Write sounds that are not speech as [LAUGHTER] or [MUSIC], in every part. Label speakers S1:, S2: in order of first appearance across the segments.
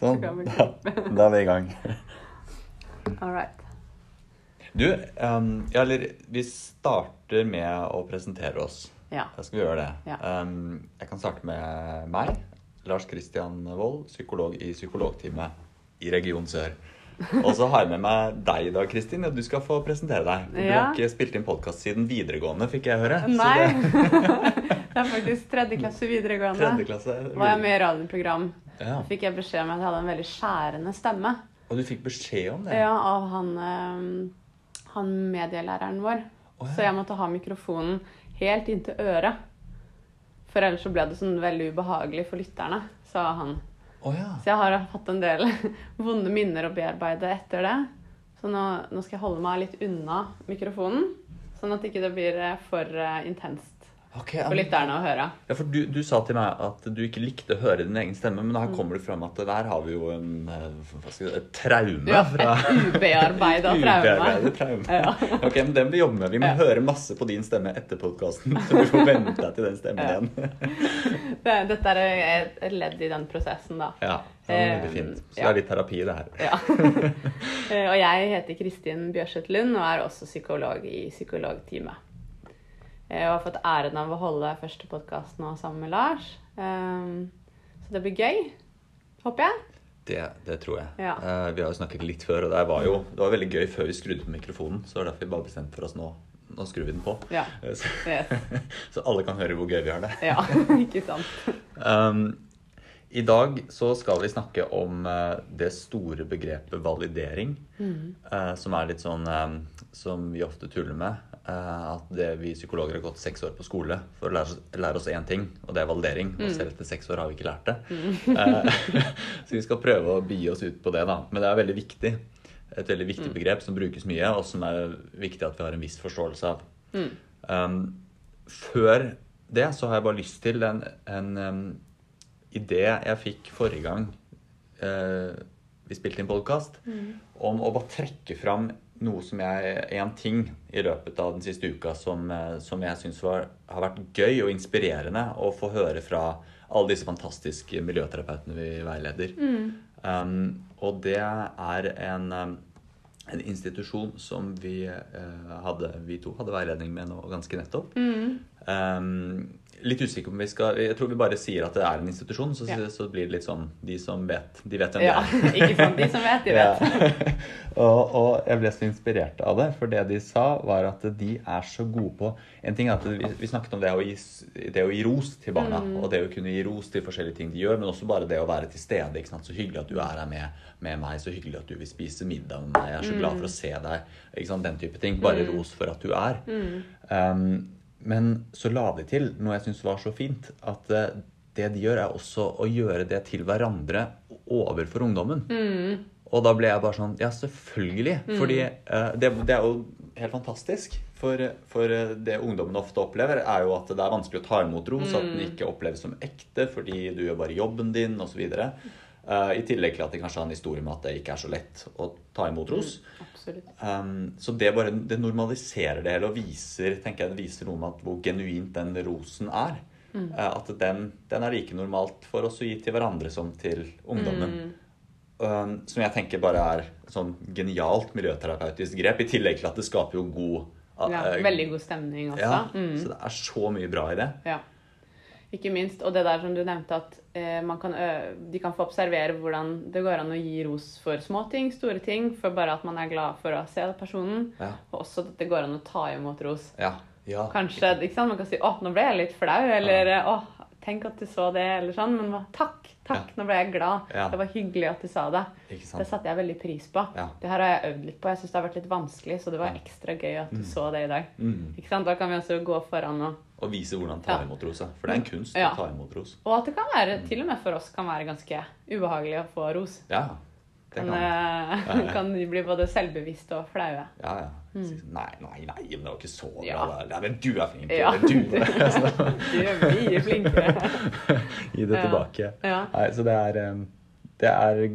S1: Sånn.
S2: Så kan vi
S1: Da, da er vi i gang.
S2: All right.
S1: Du, ehm, ja, eller vi starter med å presentere oss.
S2: Ja.
S1: Da skal vi gjøre det.
S2: Ja.
S1: Ehm, jeg kan starte med meg, Lars Christian Wold, psykolog i psykologteamet i Region Sør. Og så har jeg med meg deg i dag, Kristin. og Du skal få presentere deg. Du
S2: Ja.
S1: har ikke spilt inn podkast siden videregående, fikk jeg høre. Så
S2: Nei.
S1: det-
S2: [LAUGHS] det er faktisk tredje klasse
S1: Tredje
S2: videregående.
S1: klasse.
S2: Var jeg med i radioprogram,
S1: Ja.
S2: fikk jeg beskjed om at jeg hadde en veldig skjærende stemme.
S1: Og du fikk beskjed om det?
S2: Ja, av han, eh, han medielæreren vår.
S1: Å, ja.
S2: Så jeg måtte ha mikrofonen helt inntil øret. For ellers så ble det sånn veldig ubehagelig for lytterne, sa han.
S1: Å ja.
S2: Så jeg har hatt en del [LAUGHS] vonde minner å bearbeide etter det. Så nå, nå skal jeg holde meg litt unna mikrofonen, sånn at ikke det blir eh, for eh, intenst
S1: Ok, ja,
S2: for
S1: men-
S2: lytterne å høre.
S1: Ja, for du, du sa til meg at du ikke likte å høre din egen stemme, men
S2: Mm.
S1: her kommer det fram at der har vi jo en eh, hva skal jeg, si, et traume
S2: Ja,
S1: fra
S2: [LAUGHS] et ubearbeida
S1: [LAUGHS]
S2: traume.
S1: Ubearbeidet traume.
S2: Ja.
S1: Ok, men den må vi jobbe med. Vi må
S2: Ja.
S1: høre masse på din stemme etter podkasten. Så du får vente deg til den stemmen
S2: Ja.
S1: igjen.
S2: Det, dette er et- et ledd i den prosessen, da. [LAUGHS]
S1: Ja, det var veldig fint. Så det
S2: Eh, Ja.
S1: er litt terapi, det her. [LAUGHS]
S2: Ja. Eh, og jeg heter Kristin Bjørseth Lund og er også psykolog i psykologteamet. Eh, Og har fått æren av å holde første podkast nå sammen med Lars. Eh, Så det blir gøy, håper jeg.
S1: Det, det tror jeg.
S2: Ja.
S1: Eh, vi har jo snakket litt før, og det var jo det var veldig gøy før vi skrudde på mikrofonen. Så det var derfor vi bare bestemte for oss nå. Nå skrur vi den på.
S2: Ja.
S1: Eh, Så,
S2: Yes.
S1: [LAUGHS] så alle kan høre hvor gøy vi har det.
S2: Ja, [LAUGHS] ikke sant.
S1: Um, I dag så skal vi snakke om eh, det store begrepet validering. eh, som er litt sånn eh, som vi ofte tuller med. eh, at det vi psykologer har gått seks år på skole for å lære, oss- lære oss én ting, og det er validering. Og selv etter seks år har vi ikke lært det. [LAUGHS] Eh, så vi skal prøve å begi oss ut på det, da. Men det er veldig viktig. Et veldig viktig begrep som brukes mye, og som er viktig at vi har en viss forståelse av. Um, før det så har jeg bare lyst til en, en um, idé jeg fikk forrige gang eh, vi spilte inn podkast, om å bare trekke fram noe som jeg, en ting i løpet av den siste uka som, eh, som jeg syns har vært gøy og inspirerende å få høre fra alle disse fantastiske miljøterapeutene vi veileder. Um, og det er en, um, en institusjon som vi, eh, hadde, vi to hadde veiledning med nå ganske nettopp.
S2: Mm,
S1: Um, litt usikker på om vi skal Jeg tror vi bare sier at det er en institusjon, så,
S2: Ja.
S1: så blir det litt sånn De som vet, de vet hvem
S2: Ja,
S1: det er.
S2: ikke sant. De som vet, [LAUGHS] de vet.
S1: Ja. [LAUGHS] og, og jeg ble så inspirert av det, for det de sa, var at de er så gode på En ting er at vi, vi snakket om det å, gi, s- det å gi ros til barna,
S2: Mm.
S1: og det å kunne gi ros til forskjellige ting de gjør, men også bare det å være til stede. Ikke sant? Så hyggelig at du er her med, med meg, så hyggelig at du vil spise middag med meg, jeg er så
S2: Mm.
S1: glad for å se deg. Ikke sant? Den type ting. Bare ros for at du er.
S2: Mm.
S1: Um, men så la de til noe jeg syns var så fint, at eh, det de gjør, er også å gjøre det til hverandre overfor ungdommen. Og da ble jeg bare sånn Ja, selvfølgelig. Fordi eh, det, det er jo helt fantastisk. For, for eh, det ungdommen ofte opplever, er jo at det er vanskelig å ta imot ros. At den ikke oppleves som ekte fordi du gjør bare jobben din, osv. Uh, I tillegg til at de kanskje har en historie med at det ikke er så lett å ta imot ros.
S2: Absolutt.
S1: Um, så det bare det normaliserer det hele og viser, tenker jeg, det viser noe om at hvor genuint den rosen er.
S2: Mm.
S1: Eh, At den, den er like normalt for oss å gi til hverandre som til ungdommen.
S2: Mm.
S1: Um, som jeg tenker bare er et sånn genialt miljøterapeutisk grep, i tillegg til at det skaper jo god
S2: Ja,
S1: eh,
S2: veldig god stemning også.
S1: Ja,
S2: Mm.
S1: Så det er så mye bra i det.
S2: Ja. Ikke minst. Og det der som du nevnte, at eh, man kan ø de kan få observere hvordan det går an å gi ros for småting, store ting, for bare at man er glad for å se personen.
S1: Ja.
S2: Og også at det går an å ta imot ros.
S1: Ja. ja.
S2: Kanskje ikke sant? man kan si 'Å, nå ble jeg litt flau', eller 'Å, tenk at du så det', eller sånn. Men hva- takk, takk, nå ble jeg glad.
S1: Ja.
S2: Det var hyggelig at du sa det.
S1: Ikke sant?
S2: Det satte jeg veldig pris på.
S1: Ja.
S2: Det her har jeg øvd litt på. Jeg syns det har vært litt vanskelig, så det var ekstra gøy at du
S1: Mm.
S2: så det i dag. Ikke sant? Da kan vi også gå foran og
S1: Og vise hvordan ta
S2: Ja. Mm.
S1: imot rosa. For det er en kunst
S2: Ja.
S1: å ta imot ros.
S2: Og at det kan være, til og med for oss, kan være ganske ubehagelig å få ros.
S1: Ja. Det
S2: Kan,
S1: kan
S2: eh, [LAUGHS] kan de bli både selvbevisste og flaue.
S1: Ja, ja. Nei, nei, nei, men det var ikke så bra.
S2: Mm. Ja.
S1: da. Nei, men du er flink.
S2: [LAUGHS] Ja.
S1: Eller du altså,
S2: Du er mye flinkere. [LAUGHS]
S1: Gi det
S2: Ja.
S1: tilbake.
S2: Ja.
S1: Nei, så det er, em, det er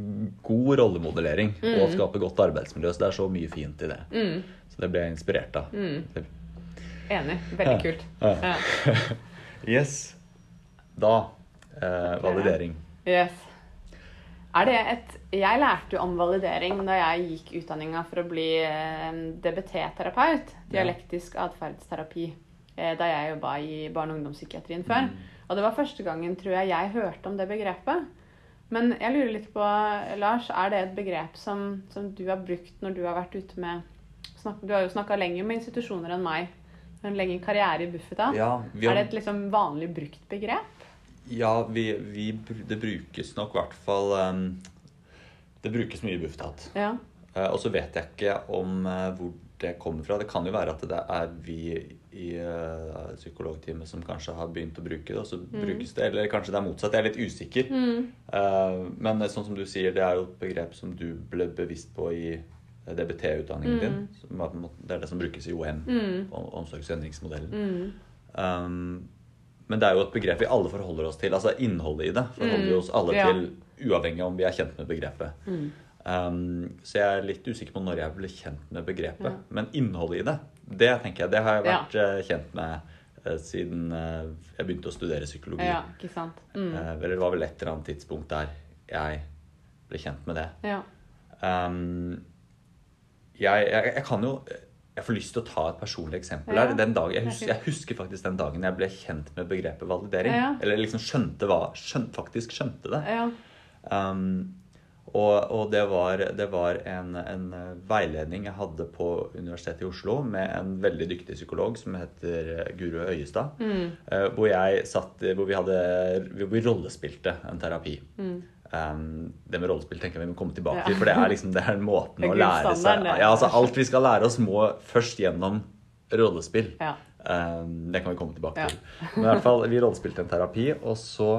S1: god rollemodellering
S2: Mm.
S1: og å skape godt arbeidsmiljø. Så det er så mye fint i det. Så det ble jeg inspirert av.
S2: Mm. Enig. Veldig kult.
S1: Ja.
S2: Ja.
S1: Yes. Da eh, validering.
S2: Yes. Er det et Jeg lærte jo om validering da jeg gikk utdanninga for å bli eh, DBT-terapeut,
S1: Ja.
S2: dialektisk atferdsterapi, eh, da jeg jobba i barne- og ungdomspsykiatrien før.
S1: Mm.
S2: Og det var første gangen, tror jeg, jeg hørte om det begrepet. Men jeg lurer litt på, Lars, er det et begrep som, som du har brukt når du har vært ute med snak- Du har jo snakka lenger med institusjoner enn meg. Du har En lengre karriere i Bufetat.
S1: Ja, vi
S2: Er
S1: har,
S2: det et liksom vanlig brukt begrep?
S1: ja vi, vi, br- det brukes nok i hvert fall ehm, Det brukes mye i Bufetat.
S2: Ja.
S1: Eh, Og så vet jeg ikke om eh, hvor det kommer fra. Det kan jo være at det er vi i eh, psykologteamet som kanskje har begynt å bruke det, og så brukes det. Eller kanskje det er motsatt. Jeg er litt usikker. Eh, Men eh, sånn som du sier, det er jo et begrep som du ble bevisst på i eh, DBT-utdanningen din. Som er på en måte- Det er det som brukes i OM,
S2: Mm,
S1: om- omsorgsendringsmodellen. Um, men det er jo et begrep vi alle forholder oss til. Altså innholdet i det forholder vi oss alle
S2: Mm. ja. Mm.
S1: til, uavhengig av om vi er kjent med begrepet. Um, så jeg er litt usikker på når jeg ble kjent med begrepet. Men innholdet i det, det tenker jeg, det har jeg
S2: Ja.
S1: vært eh, kjent med eh, siden eh, jeg begynte å studere psykologi.
S2: Ja, ikke sant. Mm.
S1: Eh, eller det var vel et eller annet tidspunkt der jeg ble kjent med det.
S2: Ja.
S1: Um, jeg, jeg, jeg kan jo Jeg får lyst til å ta et personlig eksempel
S2: Ja,
S1: her. Den dag, jeg,
S2: det er
S1: husker,
S2: fint.
S1: jeg husker faktisk den dagen jeg ble kjent med begrepet validering.
S2: Ja.
S1: Eller liksom skjønte hva skjøn, Faktisk skjønte det.
S2: ja.
S1: Um, og, og det var, det var en, en eh, veiledning jeg hadde på Universitetet i Oslo med en veldig dyktig psykolog som heter eh, Guro Øyestad.
S2: Mm.
S1: eh, Hvor, jeg satt, hvor, vi hadde, hvor vi rollespilte en terapi. Um, det med rollespill tenker jeg vi må komme tilbake
S2: Mm. Ja.
S1: til, for det er liksom det er måten
S2: Det er
S1: å lære seg
S2: gullstandarden, det.
S1: ja, altså, Alt vi skal lære oss, må først gjennom rollespill.
S2: Ja.
S1: Eh, det kan vi komme tilbake
S2: Ja.
S1: til. Men i hvert fall, vi rollespilte en terapi, og så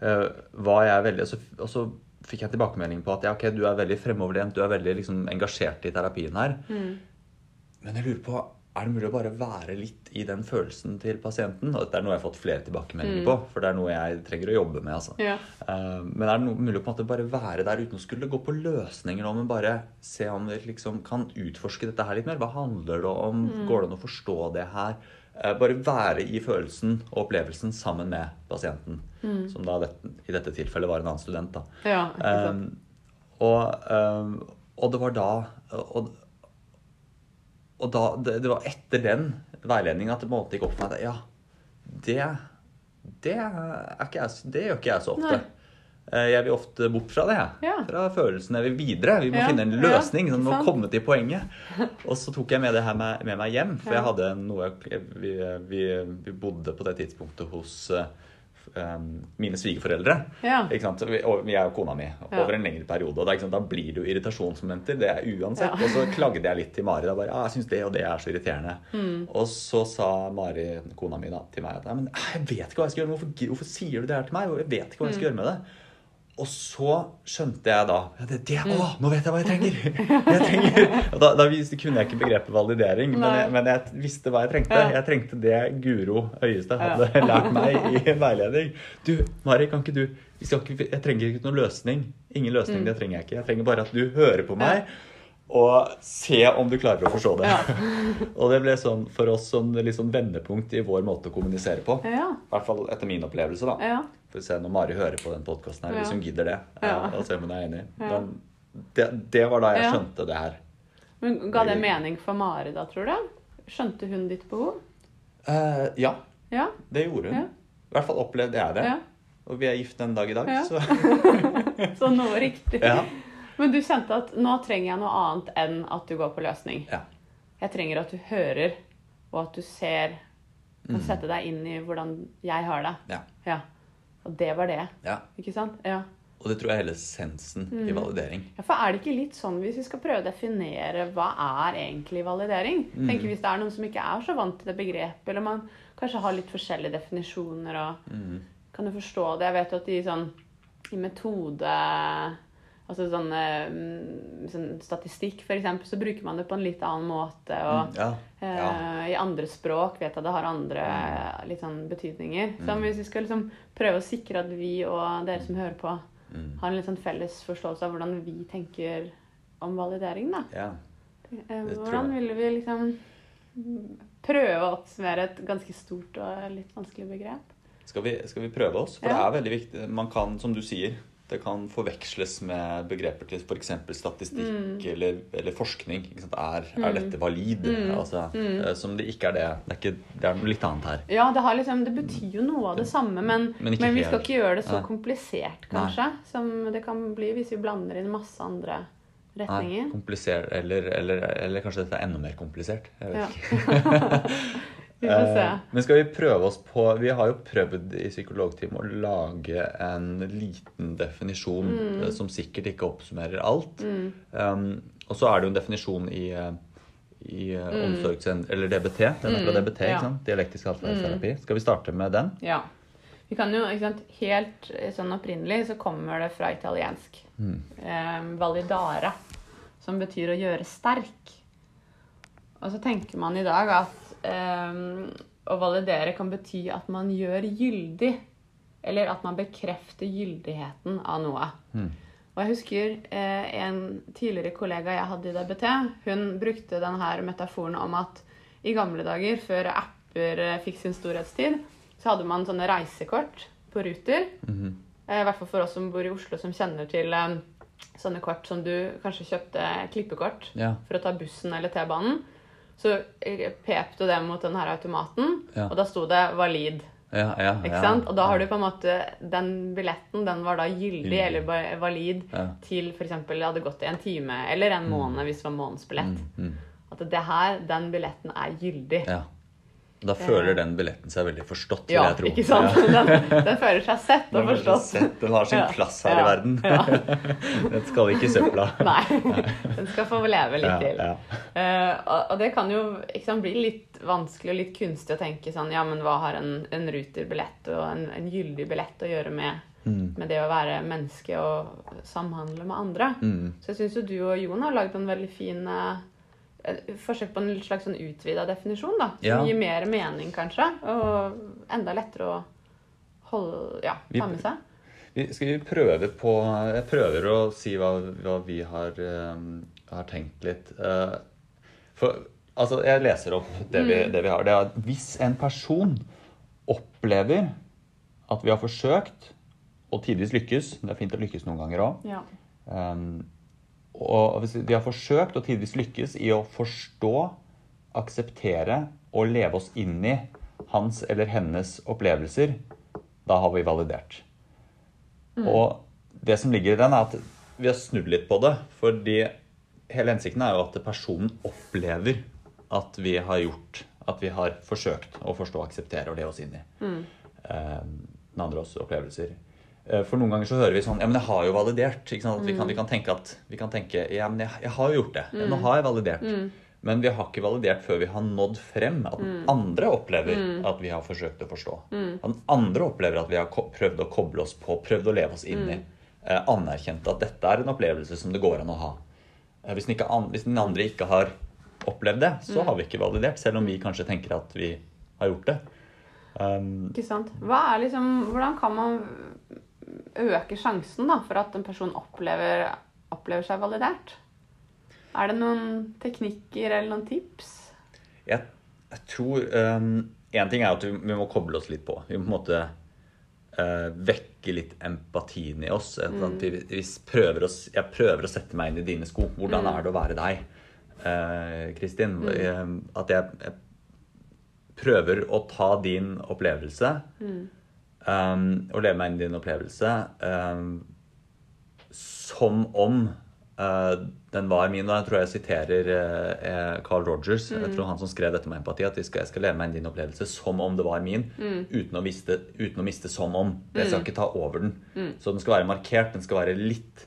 S1: eh, var jeg veldig og så, og så fikk jeg tilbakemelding på at ja, ok, du er veldig fremoverlent, du er veldig liksom, engasjert i terapien her. Men jeg lurer på er det mulig å bare være litt i den følelsen til pasienten? Og dette er noe jeg har fått flere tilbakemeldinger på, for det er noe jeg trenger å jobbe med. altså.
S2: Ja.
S1: Eh, Men er det noe, mulig å på en måte bare være der uten å skulle gå på løsninger nå, men bare se om vi liksom kan utforske dette her litt mer? Hva handler det om? Går det an å forstå det her? Eh, Bare være i følelsen og opplevelsen sammen med pasienten. Som da dette, i dette tilfellet var en annen student, da.
S2: Ja, ikke sant.
S1: Um, og, um, og det var da Og, og da, det, det var etter den veiledningen at det på en måte gikk opp for meg at ja, det, det, er ikke jeg, s- det gjør ikke jeg så ofte.
S2: Nei.
S1: Eh, Jeg vil ofte bort fra det. jeg.
S2: Ja.
S1: Fra følelsen jeg vil videre. Vi må
S2: Ja,
S1: finne en
S2: ja,
S1: løsning. sånn, vi må
S2: sant.
S1: komme til poenget. Og så tok jeg med det her med, med meg hjem, for
S2: Ja.
S1: jeg hadde noe jeg- vi, vi, vi bodde på det tidspunktet hos eh, f- em, mine svigerforeldre.
S2: Ja.
S1: Ikke sant? Vi- og Jeg og kona mi over en lengre periode. Og da, ikke sant? da blir det jo irritasjonsmomenter. Det er uansett.
S2: Ja.
S1: Og så klagde jeg litt til Mari. Da bare, ja, jeg synes det og det er så irriterende.
S2: Mm.
S1: Og så sa Mari, kona mi, da, til meg at «Nei, men «Ah, jeg vet ikke hva jeg skal gjøre. Hvorfor, gi- hvorfor sier du det her til meg? Jeg vet ikke hva jeg skal
S2: Mm.
S1: gjøre med det. Og så skjønte jeg da ja, det, det,
S2: Mm.
S1: Å, nå vet jeg hva jeg trenger! [LAUGHS] Jeg trenger. Og da, da visste, kunne jeg ikke begrepet validering, men
S2: Nei.
S1: jeg, men jeg visste hå hva jeg trengte.
S2: Ja.
S1: Jeg trengte det Guro Øyestad hadde [LAUGHS]
S2: Ja.
S1: lært meg i veiledning. Du, Mari, kan ikke du vi skal ikke, Jeg trenger ikke noen løsning. Ingen
S2: Mm.
S1: løsning, det trenger jeg ikke. Jeg trenger bare at du hører på meg. Og se om du klarer å forstå det.
S2: Ja.
S1: [LAUGHS] og det ble sånn for oss sånn, litt sånn vendepunkt i vår måte å kommunisere på. I
S2: Ja.
S1: hvert fall etter min opplevelse, da.
S2: Ja.
S1: Får vi se når Mari hører på den podkasten her,
S2: Ja.
S1: hvis hun gidder det.
S2: Ja.
S1: eh, Og se om hun er enig.
S2: Ja.
S1: Men det, det var da jeg
S2: Ja.
S1: skjønte det her.
S2: Men ga det mening for Mari da, tror du? Skjønte hun ditt behov?
S1: Eh, ja,
S2: Ja.
S1: det gjorde hun.
S2: Ja.
S1: I hvert fall opplevde jeg det.
S2: ja.
S1: Og vi er gift den dag i dag,
S2: Ja.
S1: så [LAUGHS]
S2: Så noe riktig.
S1: ja.
S2: Men du kjente at nå trenger jeg noe annet enn at du går på løsning.
S1: ja.
S2: Jeg trenger at du hører, og at du ser og setter deg inn i hvordan jeg har det.
S1: Ja.
S2: Ja. Og det var det.
S1: ja.
S2: Ikke sant? Ja.
S1: Og det tror jeg er hele essensen i
S2: Mm.
S1: validering.
S2: Ja, for er det ikke litt sånn, hvis vi skal prøve å definere hva er egentlig validering? Tenker Hvis det er noen som ikke er så vant til det begrepet, eller man kanskje har litt forskjellige definisjoner og Kan du forstå det? Jeg vet jo at i sånn i metode Altså sånn, eh, mm, sånn statistikk, for eksempel, så bruker man det på en litt annen måte. Og
S1: Mm. Ja. ja.
S2: eh, i andre språk vet jeg det har andre eh, litt sånn betydninger. Så hvis vi skal liksom prøve å sikre at vi og dere som hører på,
S1: Mm.
S2: har en litt sånn felles forståelse av hvordan vi tenker om validering, da.
S1: ja.
S2: Eh,
S1: det tror
S2: Hvordan
S1: jeg.
S2: ville vi liksom mm, prøve å oppsummere et ganske stort og litt vanskelig begrep?
S1: Skal, vi, skal vi prøve oss? For det
S2: Ja.
S1: er veldig viktig. Man kan, som du sier, det kan forveksles med begreper til f.eks. statistikk
S2: Mm.
S1: eller, eller forskning. Ikke sant? Er, er dette valid? Altså,
S2: Mm.
S1: eh, Som det ikke er det. Det er, ikke, det er noe litt annet her.
S2: Ja, det, har liksom, det betyr jo noe av det samme, men,
S1: Men
S2: men,
S1: ikke
S2: vi skal
S1: helt.
S2: ikke gjøre det så
S1: Nei.
S2: komplisert, kanskje, som det kan bli hvis vi blander inn masse andre
S1: Nei,
S2: retninger.
S1: komplisert, eller, eller, eller kanskje dette er enda mer komplisert. Jeg [LAUGHS] vet
S2: Ja.
S1: ikke.
S2: [LAUGHS] vi får se.
S1: Eh, Men skal vi prøve oss på Vi har jo prøvd i psykologtimen å lage en liten definisjon
S2: Mm.
S1: eh, som sikkert ikke oppsummerer alt. Um, og så er det jo en definisjon i, eh, i eh, omsorgs- Eller DBT. Den er fra DBT,
S2: Mm. ja.
S1: ikke
S2: Mm.
S1: sant? Dialektisk atferdsterapi. Skal vi starte med den?
S2: Ja. Vi kan jo, ikke sant, Helt eh, sånn opprinnelig så kommer det fra italiensk. Eh, validare, som betyr å gjøre sterk. Og så tenker man i dag at eh, å validere kan bety at man gjør gyldig. Eller at man bekrefter gyldigheten av noe. Og jeg husker eh, en tidligere kollega jeg hadde i DBT, hun brukte denne metaforen om at i gamle dager, før apper eh, fikk sin storhetstid, så hadde man sånne reisekort på ruter. Eh, I hvert fall for oss som bor i Oslo, som kjenner til eh, sånne kort som du kanskje kjøpte klippekort
S1: Ja.
S2: for å ta bussen eller T-banen. Så eh, pep du det mot den her automaten,
S1: Ja.
S2: og da sto det 'valid'.
S1: Ja, ja,
S2: Ikke
S1: ja.
S2: sant? Og da har du på en måte Den billetten den var da gyldig
S1: Gyldig.
S2: eller ba- valid
S1: Ja.
S2: til f.eks. det hadde gått i en time eller en måned hvis det var månedsbillett.
S1: mm.
S2: At det her, den billetten er gyldig.
S1: ja. Da føler den billetten seg veldig forstått, vil
S2: Ja,
S1: jeg tro.
S2: ikke sant?
S1: Ja.
S2: Den, den føler seg sett
S1: Den
S2: og
S1: har
S2: forstått.
S1: sett- Den har sin
S2: Ja.
S1: plass her i
S2: Ja.
S1: verden. Den skal ikke i søpla. [LAUGHS]
S2: Nei. Den skal få leve [LAUGHS] litt
S1: Ja,
S2: til.
S1: ja.
S2: Eh, og- og det kan jo ikke sant, bli litt vanskelig og litt kunstig å tenke sånn Ja, men hva har en, en ruterbillett og en, en gyldig billett å gjøre med,
S1: Mm,
S2: med det å være menneske og samhandle med andre?
S1: Mm.
S2: Så jeg syns jo du og Jon har lagd en veldig fin eh, eh, forsøk på en slags sånn utvida definisjon, da. Som
S1: Ja.
S2: gir mer mening, kanskje. Og enda lettere å holde Ja,
S1: Vi-
S2: ta med seg.
S1: Vi- Skal vi prøve på Jeg prøver å si hva, hva vi har, eh, har tenkt litt. Eh, for altså, jeg leser opp det vi, det vi har. Det er at hvis en person opplever at vi har forsøkt, og tidvis lykkes Det er fint å lykkes noen ganger òg.
S2: Ja.
S1: Um, og hvis vi har forsøkt og tidvis lykkes i å forstå, akseptere og leve oss inn i hans eller hennes opplevelser, da har vi validert. Og det som ligger i den, er at vi har snudd litt på det. Fordi hele hensikten er jo at personen opplever at vi har gjort At vi har forsøkt å forstå, akseptere og leve oss inn i eh, den andres opplevelser. Eh, For noen ganger så hører vi sånn Ja, men jeg har jo validert. Ikke sant? At Vi, kan, vi kan tenke at vi kan tenke, Ja, men jeg, jeg har jo gjort det. Ja, Nå har jeg validert. Men vi har ikke validert før vi har nådd frem. At den andre opplever at vi har forsøkt å forstå. At den andre opplever at vi har ko- prøvd å koble oss på, prøvd å leve oss inn i. Eh, anerkjent at dette er en opplevelse som det går an å ha. Eh, Hvis den, ikke an hvis den andre ikke har opplevd det, så har vi ikke validert. Selv om vi kanskje tenker at vi har gjort det. Um,
S2: Ikke sant? Hva er liksom, hvordan kan man øke sjansen da, for at en person opplever, opplever seg validert? Er det noen teknikker eller noen tips?
S1: Jeg, jeg tror Én ting er at vi, vi må koble oss litt på. Vi må på en måte eh, vekke litt empatien i oss. At at vi, vi prøver oss, jeg prøver å sette meg inn i dine sko. Hvordan er det å være deg, eh, Kristin? Eh, At jeg, jeg prøver å ta din opplevelse eh, og leve meg inn i din opplevelse eh, som om eh, den var min. Og jeg tror jeg siterer eh, eh, Carl Rogers, jeg tror han som skrev dette med empati, at vi skal, jeg skal leve meg inn i din opplevelse som om det var min, uten, å miste, uten å miste som om. Jeg skal ikke ta over den. Så den skal være markert, den skal være litt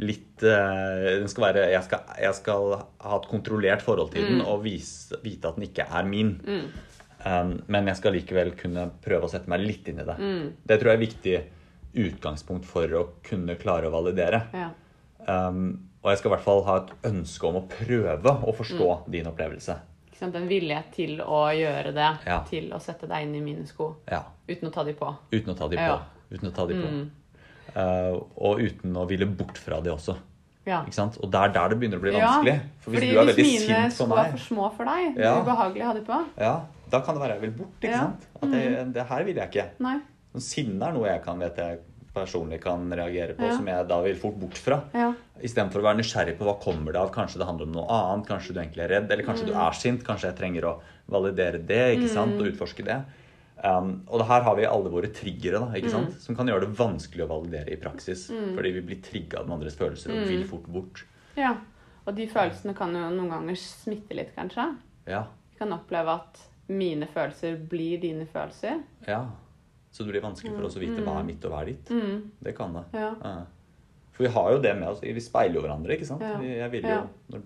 S1: litt eh, Den skal være jeg skal, jeg skal ha et kontrollert forhold til den og vise, vite at den ikke er min. Um, men jeg skal likevel kunne prøve å sette meg litt inn i det. Det tror jeg er viktig utgangspunkt for å kunne klare å validere.
S2: Ja.
S1: Um, og jeg skal i hvert fall ha et ønske om å prøve å forstå
S2: Mm.
S1: din opplevelse.
S2: Ikke sant? En villighet til å gjøre det,
S1: Ja.
S2: til å sette deg inn i mine sko
S1: Ja,
S2: uten å ta de på.
S1: Uten å ta de på.
S2: Ja. Mm.
S1: Uten å ta de på. Uh, og uten å ville bort fra de også.
S2: Ja.
S1: Ikke sant? Og det er der det begynner å bli
S2: Ja,
S1: vanskelig. For hvis
S2: fordi
S1: du er veldig
S2: mine
S1: sint på
S2: sko er
S1: meg
S2: for små for deg, det
S1: Ja.
S2: er ubehagelig å ha de på.
S1: ja, Da kan det være jeg vil bort. ikke
S2: Ja. Mm.
S1: sant? At det, det her vil jeg ikke. Sånn
S2: Nei.
S1: Sinne er noe jeg kan vite jeg personlig kan reagere på,
S2: Ja.
S1: som jeg da vil fort bort fra.
S2: Ja.
S1: Istedenfor å være nysgjerrig på hva kommer det av. Kanskje det handler om noe annet. Kanskje du egentlig er redd, eller kanskje du er sint. Kanskje jeg trenger å validere det ikke sant, og utforske det. Um, og det her har vi alle våre triggere da, ikke sant? som kan gjøre det vanskelig å validere i praksis. Fordi vi blir trigga av den andres følelser og vil fort bort.
S2: ja. Og de følelsene kan jo noen ganger smitte litt, kanskje.
S1: Ja,
S2: Vi kan oppleve at mine følelser blir dine følelser.
S1: ja. Så det blir vanskelig for oss å vite hva er mitt og hva er ditt.
S2: Mm.
S1: Det kan det.
S2: Ja.
S1: Ja. For vi har jo det med oss. Vi speiler jo hverandre, ikke sant?
S2: Ja.
S1: Vi- Jeg vil jo,
S2: Ja.
S1: når,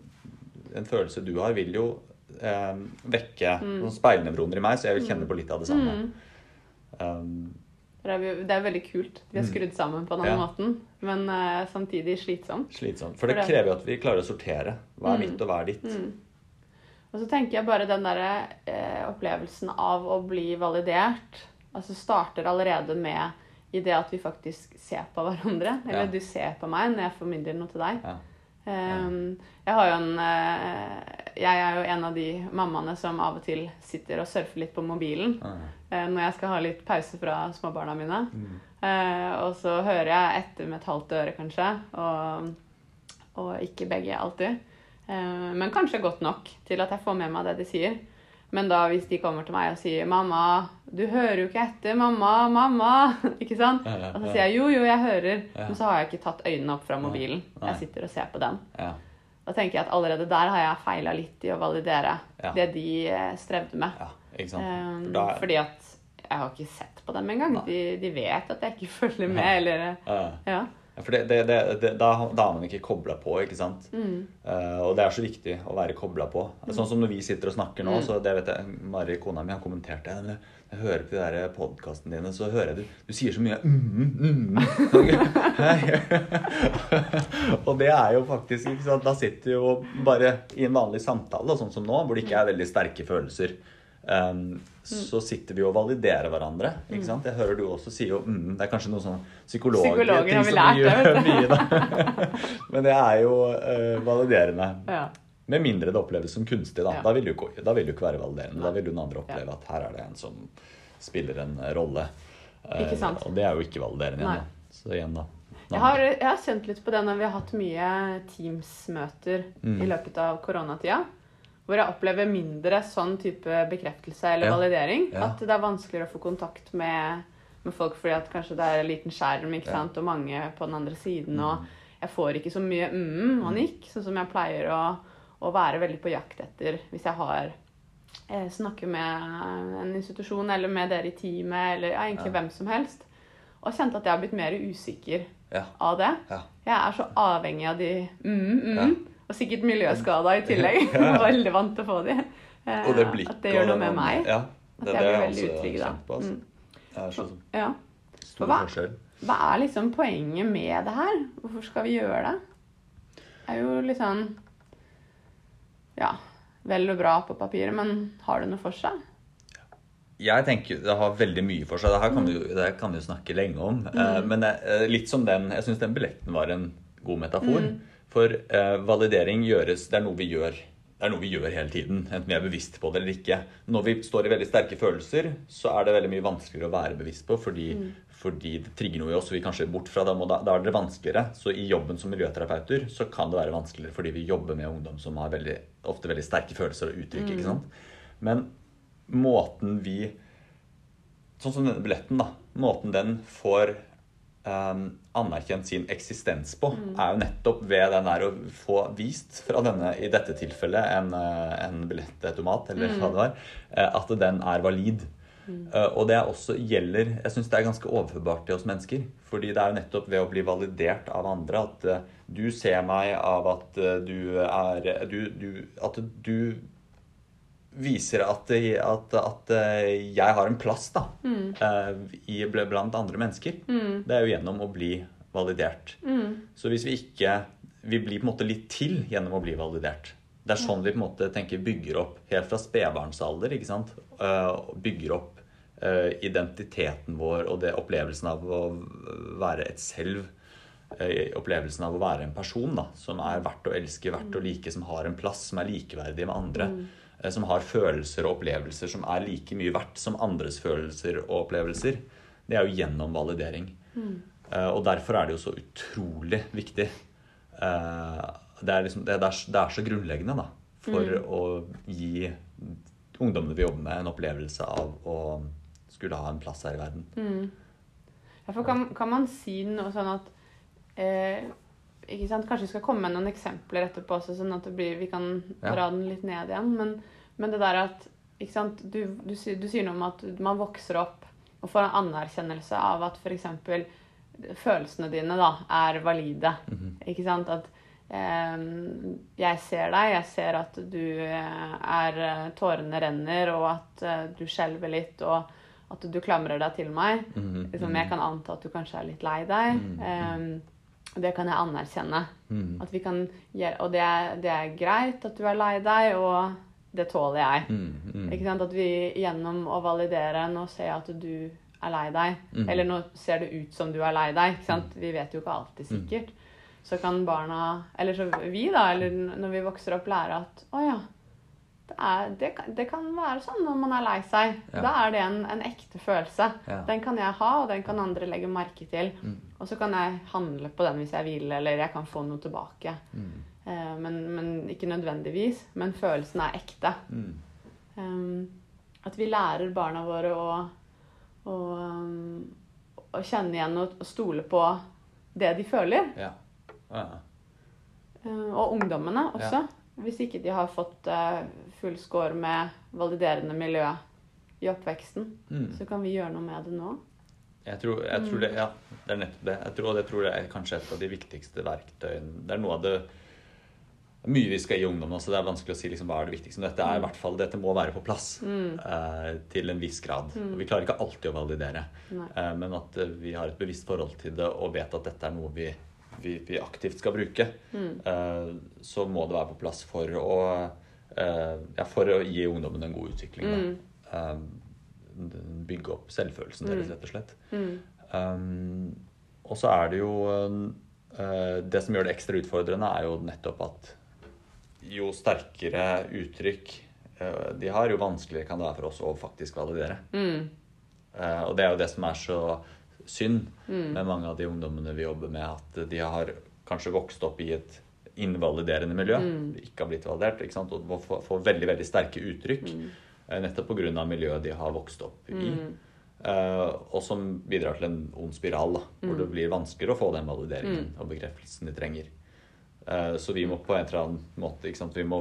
S1: en følelse du har, vil jo eh, vekke noen speilnevroner i meg, så jeg vil kjenne på litt av det samme. Um,
S2: Det er, jo- det er veldig kult. De er skrudd sammen på den andre
S1: Mm. Ja.
S2: måten, men eh, samtidig slitsomt.
S1: slitsomt. For det
S2: For det- Mm.
S1: krever jo at vi klarer å sortere. Hva er mitt, og hva er ditt?
S2: Og så tenker jeg bare den der eh, opplevelsen av å bli validert altså starter allerede med i det at vi faktisk ser på hverandre. Eller
S1: Ja.
S2: du ser på meg når jeg formidler noe til deg.
S1: Ja.
S2: Ehm, jeg har jo en eh, Jeg er jo en av de mammaene som av og til sitter og surfer litt på mobilen
S1: Ah.
S2: eh, når jeg skal ha litt pause fra småbarna mine.
S1: Mm.
S2: Eh, og så hører jeg etter med et halvt øre, kanskje, og, og ikke begge alltid. Eh, men kanskje godt nok til at jeg får med meg det de sier. Men da hvis de kommer til meg og sier 'Mamma, du hører jo ikke etter. Mamma, mamma.' [LAUGHS] ikke sant?
S1: Ja, ja,
S2: Og så
S1: ja.
S2: sier jeg 'Jo, jo, jeg hører',
S1: Ja.
S2: men så har jeg ikke tatt øynene opp fra mobilen.
S1: nei.
S2: Jeg sitter og ser på den.
S1: Ja.
S2: Da tenker jeg at allerede der har jeg feila litt i å validere
S1: Ja.
S2: det de eh, strevde med.
S1: ja. Ikke sant?
S2: Um,
S1: For da-
S2: Fordi at jeg har ikke sett på dem engang. De, de vet at jeg ikke [LAUGHS] følger med,
S1: Nei.
S2: eller
S1: Ja.
S2: Ja.
S1: Ja, For det, det, det, det, da, da er man ikke kobla på, ikke sant? Eh, og det er så viktig å være kobla på. Sånn som når vi sitter og snakker nå, så det vet jeg, Mari, kona mi, har kommentert det. Når jeg hører på de der podkastene dine, så hører jeg du, du sier så mye mm, mm. Og det er jo faktisk ikke sant? Da sitter jo bare i en vanlig samtale, sånn som nå, hvor det ikke er veldig sterke følelser. Um, så sitter vi og validerer hverandre. Ikke sant? Jeg hører du også sier jo mm, Det er kanskje noen sånne psykologer,
S2: Psykologer har vi
S1: ting som
S2: lært det,
S1: gjør [LAUGHS] mye, da.
S2: [LAUGHS]
S1: Men det er jo eh, validerende.
S2: ja.
S1: Med mindre det oppleves som kunstig, da.
S2: Ja.
S1: Da vil det jo ikke- da vil det jo ikke være validerende. Da vil jo den andre oppleve at her er det en som spiller en eh, rolle. Eh,
S2: Ikke sant?
S1: Og det er jo ikke validerende
S2: Nei.
S1: igjen, da. Så igjen, da.
S2: Jeg har, jeg har kjent litt på det når vi har hatt mye Teams-møter i løpet av koronatida. Hvor jeg opplever mindre sånn type bekreftelse eller
S1: Ja.
S2: validering.
S1: Ja.
S2: At det er vanskeligere å få kontakt med, med folk fordi at kanskje det er en liten skjerm ikke sant? og mange på den andre siden. Og jeg får ikke så mye mm og nikk, sånn som jeg pleier å, å være veldig på jakt etter hvis jeg har eh, snakker med en institusjon eller med dere i teamet eller ja, egentlig hvem som helst. Og kjente at jeg har blitt mer usikker
S1: Ja.
S2: av det.
S1: Ja.
S2: Jeg er så avhengig av de mm, mm,
S1: Ja.
S2: og sikkert miljøskada i tillegg.
S1: [LAUGHS] Ja, ja.
S2: Veldig vant til å få de. Eh,
S1: Og det blikket
S2: at det gjør
S1: og
S2: noe
S1: den
S2: med
S1: andre-
S2: meg.
S1: Ja,
S2: At
S1: det er
S2: jeg
S1: det
S2: blir
S1: jeg
S2: veldig
S1: også
S2: utrygg da. Mm.
S1: kjent på. Altså. Det er så
S2: Ja.
S1: stor
S2: Hva-
S1: forskjell.
S2: Hva er liksom poenget med det her? Hvorfor skal vi gjøre det? Det er jo litt sånn Ja, vel og bra på papiret, men har det noe for seg?
S1: Jeg tenker jo det har veldig mye for seg. Det her kan vi jo, det her kan vi jo snakke lenge om. Eh, Men det, eh, litt som den Jeg syns den billetten var en god metafor. For eh, validering gjøres Det er noe vi gjør. Det er noe vi gjør hele tiden, enten vi er bevisst på det eller ikke. Når vi står i veldig sterke følelser, så er det veldig mye vanskeligere å være bevisst på, fordi, fordi det trigger noe i oss, og vi kanskje er bort fra dem, og da, da er det vanskeligere. Så i jobben som miljøterapeuter så kan det være vanskeligere, fordi vi jobber med ungdom som har veldig, ofte veldig sterke følelser og uttrykk. ikke sant? Men måten vi Sånn som denne billetten, da. Måten den får em, anerkjent sin eksistens på, er jo nettopp ved den der å få vist fra denne, i dette tilfellet, en, eh, en billettautomat, eller hva det var, eh, at den er valid. Eh, og det er også gjelder Jeg syns det er ganske overførbart til oss mennesker. Fordi det er jo nettopp ved å bli validert av andre at eh, du ser meg av at eh, du er du, du, At du viser at, at, at eh, jeg har en plass da, eh, i, bl- blant andre mennesker. Det er jo gjennom å bli validert. Så hvis vi ikke Vi blir på en måte litt til gjennom å bli validert. Det er sånn vi på en måte tenker bygger opp helt fra spedbarnsalder. ikke sant? Eh, Bygger opp eh, identiteten vår og det opplevelsen av å være et selv. eh, Opplevelsen av å være en person da, som er verdt å elske, verdt å like, som har en plass, som er likeverdig med andre. eh, Som har følelser og opplevelser som er like mye verdt som andres følelser og opplevelser. Det er jo gjennom validering. Eh, Og derfor er det jo så utrolig viktig. Eh, Det er, liksom, det det er, det er så grunnleggende da, for
S2: Mm.
S1: å gi ungdommene vi jobber med, en opplevelse av å skulle ha en plass her i verden.
S2: Ja, for kan, kan man si noe sånn at eh, ikke sant? Kanskje vi skal komme med noen eksempler etterpå, også, sånn at det blir, vi kan
S1: Ja.
S2: dra den litt ned igjen. Men, men det der at ikke sant? Du, du, sier- du sier noe om at man vokser opp og får en anerkjennelse av at f.eks. følelsene dine da, er valide.
S1: Mhm.
S2: Ikke sant? At eh, jeg ser deg, jeg ser at du eh, er eh, Tårene renner, og at eh, du skjelver litt, og at du klamrer deg til meg.
S1: Mhm,
S2: Liksom, jeg kan anta at du kanskje er litt lei deg.
S1: Mm.
S2: eh, og det kan jeg anerkjenne.
S1: Mhm.
S2: At vi kan gjøre, og det er, det er greit at du er lei deg, og det tåler jeg.
S1: Mm, mm.
S2: Ikke sant? At vi gjennom å validere Nå ser jeg at du er lei deg.
S1: Mm.
S2: Eller nå ser det ut som du er lei deg. Ikke sant? Vi vet jo ikke
S1: Mm.
S2: alltid sikkert. Så kan barna, eller så vi, da, eller når vi vokser opp, lære at å ja, det, er, det, kan, det kan være sånn når man er lei seg.
S1: Ja.
S2: Da er det en, en ekte følelse.
S1: Ja. Mm.
S2: Den kan jeg ha, og den kan andre legge merke til. Og så kan jeg handle på den hvis jeg vil, eller jeg kan få noe tilbake.
S1: Mm,
S2: Eh, men, men ikke nødvendigvis. Men følelsen er ekte.
S1: Mm.
S2: Um, at vi lærer barna våre å, å, um, å kjenne igjen og og stole på det de føler.
S1: Ja. Ja.
S2: Uh, og ungdommene også. Hvis ikke de har fått uh, full score med validerende miljø i oppveksten,
S1: Mm.
S2: så Mm. kan vi gjøre noe med det nå.
S1: Jeg tror, jeg tror det, ja, det er nettopp det. Jeg tror, og det tror jeg er kanskje et av de viktigste verktøyene. Det er noe av det det er mye vi skal gi ungdommen også. Det er vanskelig å si liksom, hva er det viktigste. Men
S2: Mm.
S1: dette er i hvert fall, dette må være på plass eh, til en viss grad.
S2: Mm.
S1: Og vi klarer ikke alltid å validere,
S2: Nei.
S1: eh, men at eh, vi har et bevisst forhold til det og vet at dette er noe vi, vi, vi aktivt skal bruke,
S2: Mm.
S1: eh, så må det være på plass for å, eh, ja, for å gi ungdommen en god utvikling. Da.
S2: Mm.
S1: Eh, bygge opp selvfølelsen deres, rett og slett.
S2: Mm.
S1: Um, og så er det jo eh, Det som gjør det ekstra utfordrende, er jo nettopp at jo sterkere uttrykk eh, de har, jo vanskeligere kan det være for oss å faktisk validere.
S2: Mm.
S1: Eh, og det er jo det som er så synd med mange av de ungdommene vi jobber med, at de har kanskje vokst opp i et invaliderende miljø, ikke har blitt validert, ikke sant? og må få, få veldig, veldig sterke uttrykk.
S2: Mm.
S1: eh, Nettopp pga. miljøet de har vokst opp i.
S2: Mm.
S1: eh, og som bidrar til en ond spiral, da, hvor
S2: Mm.
S1: det blir vanskeligere å få den valideringen og bekreftelsen de trenger. Eh, så vi må på en eller annen måte ikke sant? Vi må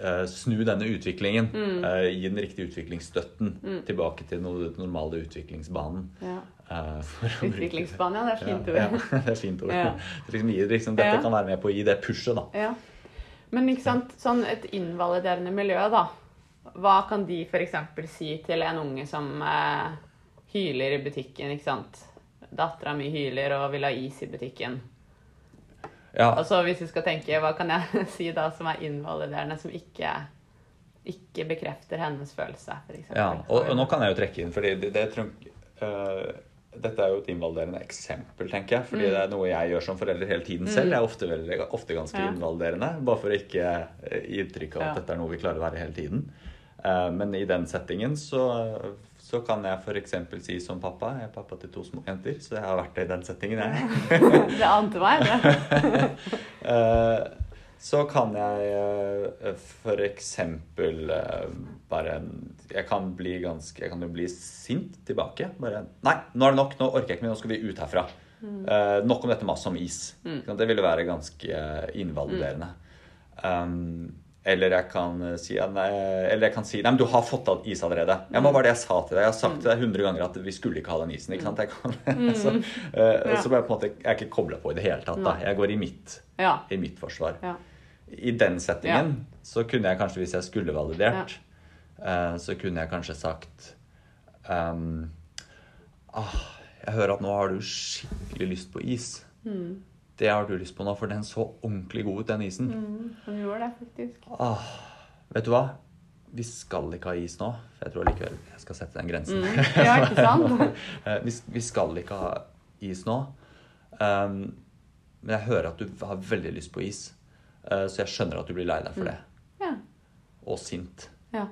S1: eh, snu denne utviklingen,
S2: Mm.
S1: eh, gi den riktige utviklingsstøtten tilbake til no- den normale utviklingsbanen.
S2: Ja.
S1: eh, for å bruke-
S2: Utviklingsbanen, ja. Det er fint ord.
S1: Ja, [LAUGHS] ja, det er fint ord.
S2: Ja.
S1: Så Liksom, gi det liksom, dette
S2: Ja.
S1: kan være med på å gi det pushet, da.
S2: [LAUGHS] Ja. Men ikke sant, sånn et invaliderende miljø, da. Hva kan de f.eks. si til en unge som eh, hyler i butikken, ikke sant. Dattera mi hyler og vil ha is i butikken.
S1: Ja,
S2: Og så hvis vi skal tenke, hva kan jeg [LAUGHS] si da som er invaliderende, som ikke, ikke bekrefter hennes følelse, f.eks.
S1: ja. Og, og nå kan jeg jo trekke inn, fordi det, det trunk, eh, dette er jo et invaliderende eksempel, tenker jeg. Fordi det er noe jeg gjør som forelder hele tiden selv. Jeg er ofte, veldig, ofte ganske
S2: Ja.
S1: invaliderende, bare for å ikke eh, gi inntrykk av at
S2: Ja.
S1: dette er noe vi klarer å være hele tiden. Eh, Men i den settingen så, så kan jeg f.eks. si som pappa Jeg er pappa til to små jenter, så jeg har vært det i den settingen, jeg.
S2: [LAUGHS] Det ante meg, det.
S1: Eh, så kan jeg eh, for eksempel eh, bare Jeg kan bli ganske Jeg kan jo bli sint tilbake. Bare Nei, nå er det nok. Nå orker jeg ikke mer. Nå skal vi ut herfra.
S2: Mm.
S1: Eh, nok om dette maset om is. Ikke sant? Det ville være ganske eh, invaliderende. Um, eller jeg kan eh, si ja, nei, Eller jeg kan si Nei, men du har fått all is allerede. Ja, hva var det jeg sa til deg? Jeg har sagt til deg 100 ganger at vi skulle ikke ha den isen. Ikke sant? Jeg kan, [LAUGHS] så, eh,
S2: Mm. Ja.
S1: så ble jeg på en måte Jeg er ikke kobla på i det hele tatt. Da. Jeg går i mitt
S2: Ja.
S1: i mitt forsvar.
S2: ja.
S1: I den settingen så kunne jeg kanskje, hvis jeg skulle validert, eh, så kunne jeg kanskje sagt ehm, ah, Jeg hører at nå har du skikkelig lyst på is. Det har du lyst på nå, for den så ordentlig god ut, den isen.
S2: Hun gjorde det, faktisk.
S1: Ah, vet du hva? Vi skal ikke ha is nå. For jeg tror allikevel jeg skal sette den grensen.
S2: Mm. Ja, ikke sant?
S1: [LAUGHS] Eh, vi, vi skal ikke ha is nå. Ehm, men jeg hører at du har veldig lyst på is, eh, så jeg skjønner at du blir lei deg
S2: Mm.
S1: for det.
S2: Ja.
S1: Og sint.
S2: ja.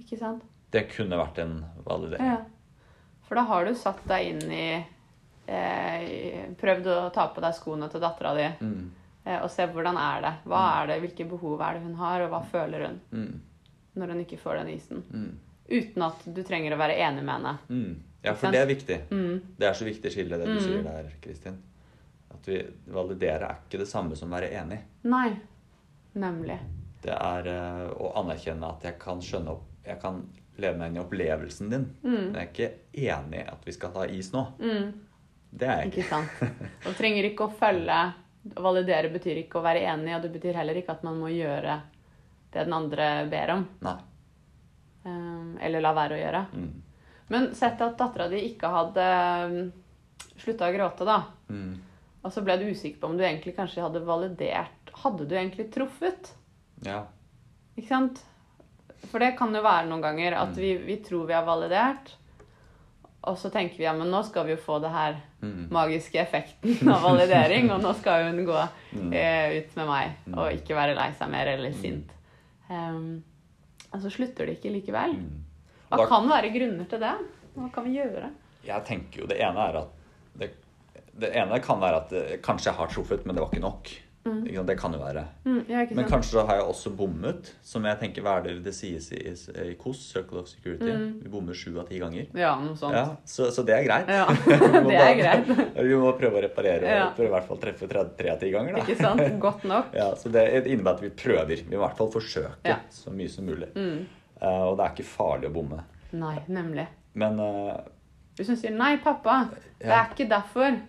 S2: Ikke sant?
S1: Det kunne vært en validering.
S2: Ja. For da har du satt deg inn i eh, prøvd å ta på deg skoene til dattera di
S1: Mm.
S2: eh, og se hvordan er det. Hva er det, Hvilke behov er det hun har, og hva føler hun
S1: Mm.
S2: når hun ikke får den isen?
S1: Mm.
S2: Uten at du trenger å være enig med henne.
S1: Mm. Ja,
S2: Ikke
S1: for
S2: sant?
S1: det er viktig.
S2: Mm.
S1: Det er så viktig skille, det du sier der, Kristin. At vi validerer er ikke det samme som å være enig.
S2: Nei. Nemlig.
S1: Det er eh, å anerkjenne at jeg kan skjønne opp Jeg kan leve meg inn i opplevelsen din. Men jeg er ikke enig i at vi skal ha is nå.
S2: Mm.
S1: Det er jeg ikke.
S2: Ikke sant. Og trenger ikke å følge Å validere betyr ikke å være enig, og det betyr heller ikke at man må gjøre det den andre ber om.
S1: Nei.
S2: eh, Eller la være å gjøre.
S1: Mm.
S2: Men sett at dattera di ikke hadde slutta å gråte, da.
S1: Mm.
S2: Og så ble du usikker på om du egentlig kanskje hadde validert Hadde du egentlig truffet?
S1: Ja.
S2: Ikke sant? For det kan jo være noen ganger at vi,
S1: Mm.
S2: vi tror vi har validert, og så tenker vi ja, men nå skal vi jo få det her
S1: Mm.
S2: magiske effekten av validering, og nå skal hun gå
S1: Mm.
S2: eh, ut med meg og ikke være lei seg mer eller sint. Um, altså slutter det ikke likevel.
S1: Mm.
S2: Hva
S1: Da-
S2: kan være grunner til det? Hva kan vi gjøre?
S1: Jeg tenker jo det ene er at Det, det ene kan være at eh, kanskje jeg har truffet, men det var ikke nok. Ikke sant? Det kan jo være.
S2: Mm, ja, ikke
S1: Men
S2: sant?
S1: kanskje har jeg også bommet, som jeg tenker hva er det det sies i, i KOS, Circle of Security.
S2: Mm.
S1: Vi bommer sju av ti ganger.
S2: Ja, noe sånt.
S1: Ja, så, så det er greit.
S2: Ja, [LAUGHS]
S1: [LAUGHS] Vi må
S2: det er
S1: bare-
S2: greit.
S1: [LAUGHS] Vi må prøve å reparere og
S2: Ja.
S1: prøve i hvert fall treffe tre tre av ti ganger, da.
S2: Ikke sant? Godt nok.
S1: [LAUGHS] Ja, så det innebærer at vi prøver. Vi må i hvert fall forsøke
S2: Ja. Mm.
S1: så mye som mulig. Eh, og det er ikke farlig å bomme.
S2: Nei, nemlig.
S1: Men eh,
S2: Hvis hun sier 'nei, pappa, det er ikke derfor'.